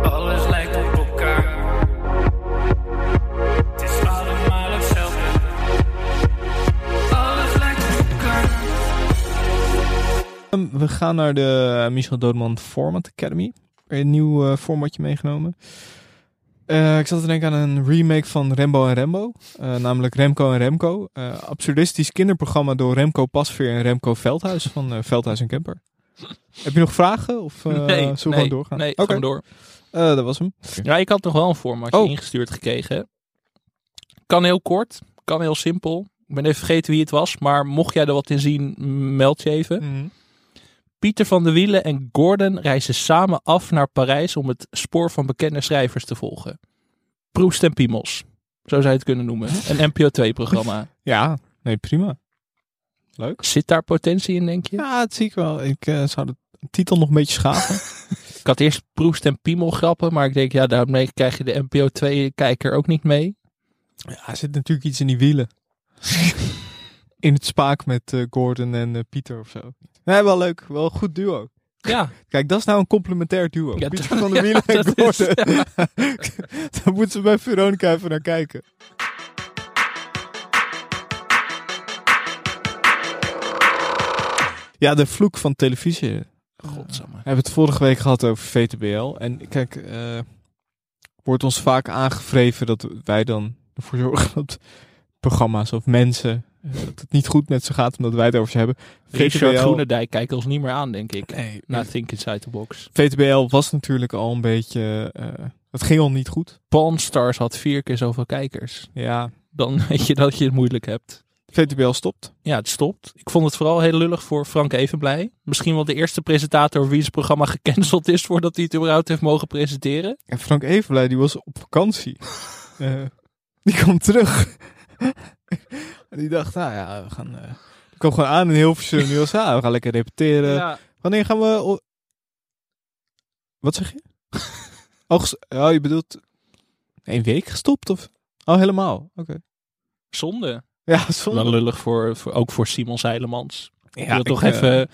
Alles lijkt op elkaar. Het is allemaal hetzelfde. Alles lijkt op elkaar. Ehm, We gaan naar de eh, Michel Doodman Format Academy. Weer Een nieuw eh, formatje meegenomen. Eh, ik zat te denken aan een remake van Rembo en Rembo. Eh, namelijk Remco en Remco. Eh, absurdistisch kinderprogramma door Remco Pasveer en Remco Veldhuis van eh, Veldhuis en Kemper. Heb je nog vragen? Of eh nee, zullen we nee, gewoon doorgaan? Nee, Oké, gaan we door. Eh, dat was hem. Ja, ik had nog wel een formatje Oh. ingestuurd gekregen. Kan heel kort, kan heel simpel. Ik ben even vergeten wie het was, maar mocht jij er wat in zien, m- meld je even. Pieter van de Wielen en Gordon reizen samen af naar Parijs om het spoor van bekende schrijvers te volgen. Proest en Piemels, zo zou je het kunnen noemen. Een NPO2-programma. Ja, nee, prima. Zit daar potentie in, denk je? Ja, dat zie ik wel. Ik eh, zou de titel nog een beetje schaven. Ik had eerst Proest en Piemel grappen, maar ik denk, ja, daarmee krijg je de NPO2-kijker ook niet mee. ja, er zit natuurlijk iets in die wielen. in het spaak met eh, Gordon en eh, Pieter of zo. Nee, wel leuk. Wel een goed duo. Ja, Kijk, dat is nou een complementair duo. Ja, Pieter dat- van der ja, Wielen en dat is- Gordon. Daar moeten ze bij Veronica even naar kijken. Ja, de vloek van televisie. Godsamme. We hebben het vorige week gehad over VTBL. En kijk, eh, wordt ons vaak aangevreven dat wij dan ervoor zorgen dat programma's of mensen, eh, dat het niet goed met ze gaat omdat wij het over ze hebben. Richard VTBL Groenendijk kijkt ons niet meer aan, denk ik. Nee. Na Nou, Think Inside the Box. VTBL was natuurlijk al een beetje, eh, het ging al niet goed. Pawn Stars had vier keer zoveel kijkers. Ja, Dan weet je dat je het moeilijk hebt. VTBL stopt. Ja, het stopt. Ik vond het vooral heel lullig voor Frank Evenblij. Misschien wel de eerste presentator wiens programma gecanceld is voordat hij het überhaupt heeft mogen presenteren. En Frank Evenblij, die was op vakantie. Eh, die kwam terug. en die dacht, nou ja, we gaan... eh ik kwam gewoon aan in Hilversum. Die was, ah, we gaan lekker repeteren. Ja, Wanneer gaan we... o- Wat zeg je? Oh, ges- oh, je bedoelt... Een week gestopt of... Oh, helemaal. Oké. zonde. Ja, zonde. Wel lullig voor, voor, ook voor Simon Zeilemans. ik Ja, wil toch ik, eh, even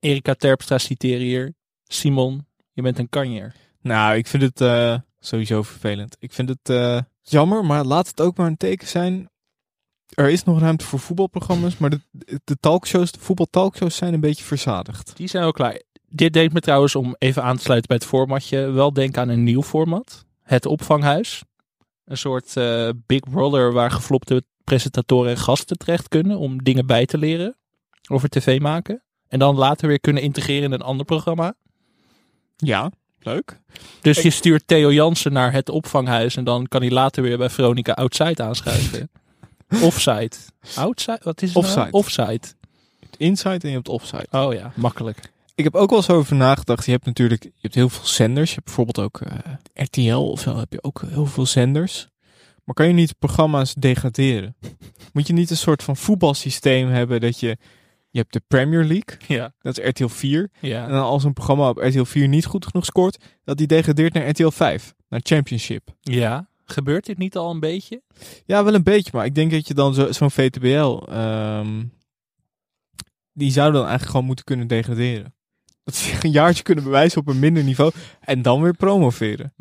Erika Terpstra citeren hier. Simon, je bent een kanjer. Nou, ik vind het eh, sowieso vervelend. Ik vind het eh, jammer, maar laat het ook maar een teken zijn. Er is nog ruimte voor voetbalprogramma's, maar de, de talkshows, de voetbaltalkshows zijn een beetje verzadigd. Die zijn wel klaar. Dit deed me trouwens, om even aan te sluiten bij het formatje, wel denken aan een nieuw format. Het opvanghuis. Een soort eh, Big Brother waar geflopte presentatoren en gasten terecht kunnen om dingen bij te leren over tv maken. En dan later weer kunnen integreren in een ander programma. Ja, leuk. Dus je stuurt Theo Jansen naar het opvanghuis en dan kan hij later weer bij Veronica Outside aanschuiven. Offsite. Outside? Wat is het nou? Offsite. Offsite. Je hebt inside en je hebt offside. Oh ja, makkelijk. Ik heb ook wel eens over nagedacht. Je hebt natuurlijk je hebt heel veel zenders. Je hebt bijvoorbeeld ook eh, RTL of zo heb je ook heel veel zenders. Maar kan je niet programma's degraderen? Moet je niet een soort van voetbalsysteem hebben dat je... Je hebt de Premier League, Ja. dat is RTL 4. En Ja. dan als een programma op RTL 4 niet goed genoeg scoort, dat die degradeert naar RTL 5, naar Championship. ja. Gebeurt dit niet al een beetje? Ja, wel een beetje, maar ik denk dat je dan zo- zo'n VTBL, ehm, die zou dan eigenlijk gewoon moeten kunnen degraderen. Dat ze zich een jaartje kunnen bewijzen op een minder niveau en dan weer promoveren.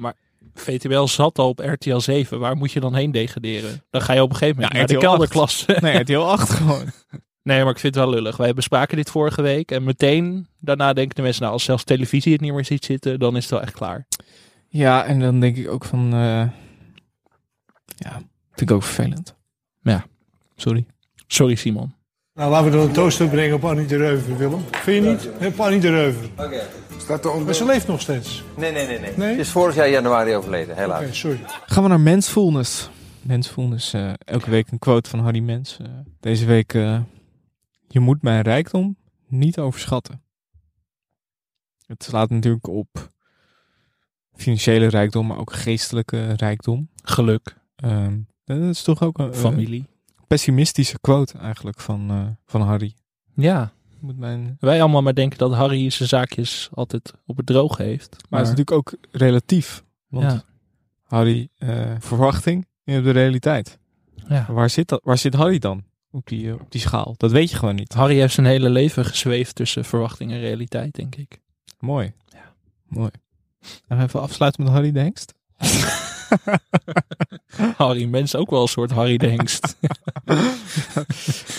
VTBL zat al op RTL 7. Waar moet je dan heen degraderen? Dan ga je op een gegeven moment Ja, naar de RTL 8. kelderklasse. Nee, RTL 8 gewoon. Nee, maar ik vind het wel lullig. Wij bespraken dit vorige week. En meteen daarna denken de mensen, nou als zelfs televisie het niet meer ziet zitten, dan is het wel echt klaar. Ja, en dan denk ik ook van, eh, ja, vind ik ook vervelend. Ja. Sorry. Sorry Simon. Nou, laten we dan een toast toebrengen op Annie de Reuver, Willem. Vind je niet? Op Annie de Reuver. Oké. Maar ze leeft nog steeds. Nee, nee, nee, nee. Nee? Ze is vorig jaar januari overleden, helaas. Oké, sorry. Gaan we naar mensfulness. Mensfulness, eh, elke week een quote van Harry Mens. Eh, deze week, eh, je moet mijn rijkdom niet overschatten. Het slaat natuurlijk op financiële rijkdom, maar ook geestelijke rijkdom. Geluk, Ehm, dat is toch ook een eh, familie. pessimistische quote eigenlijk van, eh, van Harry. Ja, Je Moet mijn... Maar, wij allemaal maar denken dat Harry zijn zaakjes altijd op het droog heeft. Maar, het is natuurlijk ook relatief. Want Ja. Harry, eh, verwachting in de realiteit. Ja. Waar, zit dat, waar zit Harry dan op die, eh, op die schaal? Dat weet je gewoon niet. Harry heeft zijn hele leven gezweefd tussen verwachting en realiteit, denk ik. Mooi. Mooi. En we even afsluiten met Harry de Hengst. Harry Mens ook wel een soort Harry de Hengst.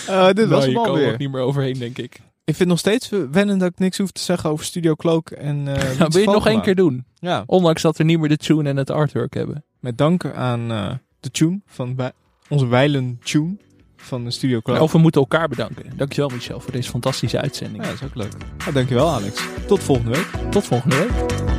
Eh, dit was Nou, je hem kan alweer. ook niet meer overheen, denk ik. Ik vind nog steeds wennen dat ik niks hoef te zeggen over Studio Cloak en eh Wietse Nou, wil je het nog Valkema. één keer doen? Ja, Ondanks dat we niet meer de tune en het artwork hebben. met dank aan eh, de tune van wij- onze wijlen tune van de Studio Cloak. Of we moeten elkaar bedanken. Dankjewel Michel voor deze fantastische uitzending. Ja, dat is ook leuk. Nou, dankjewel Alex. Ah, Tot volgende week. Tot volgende week.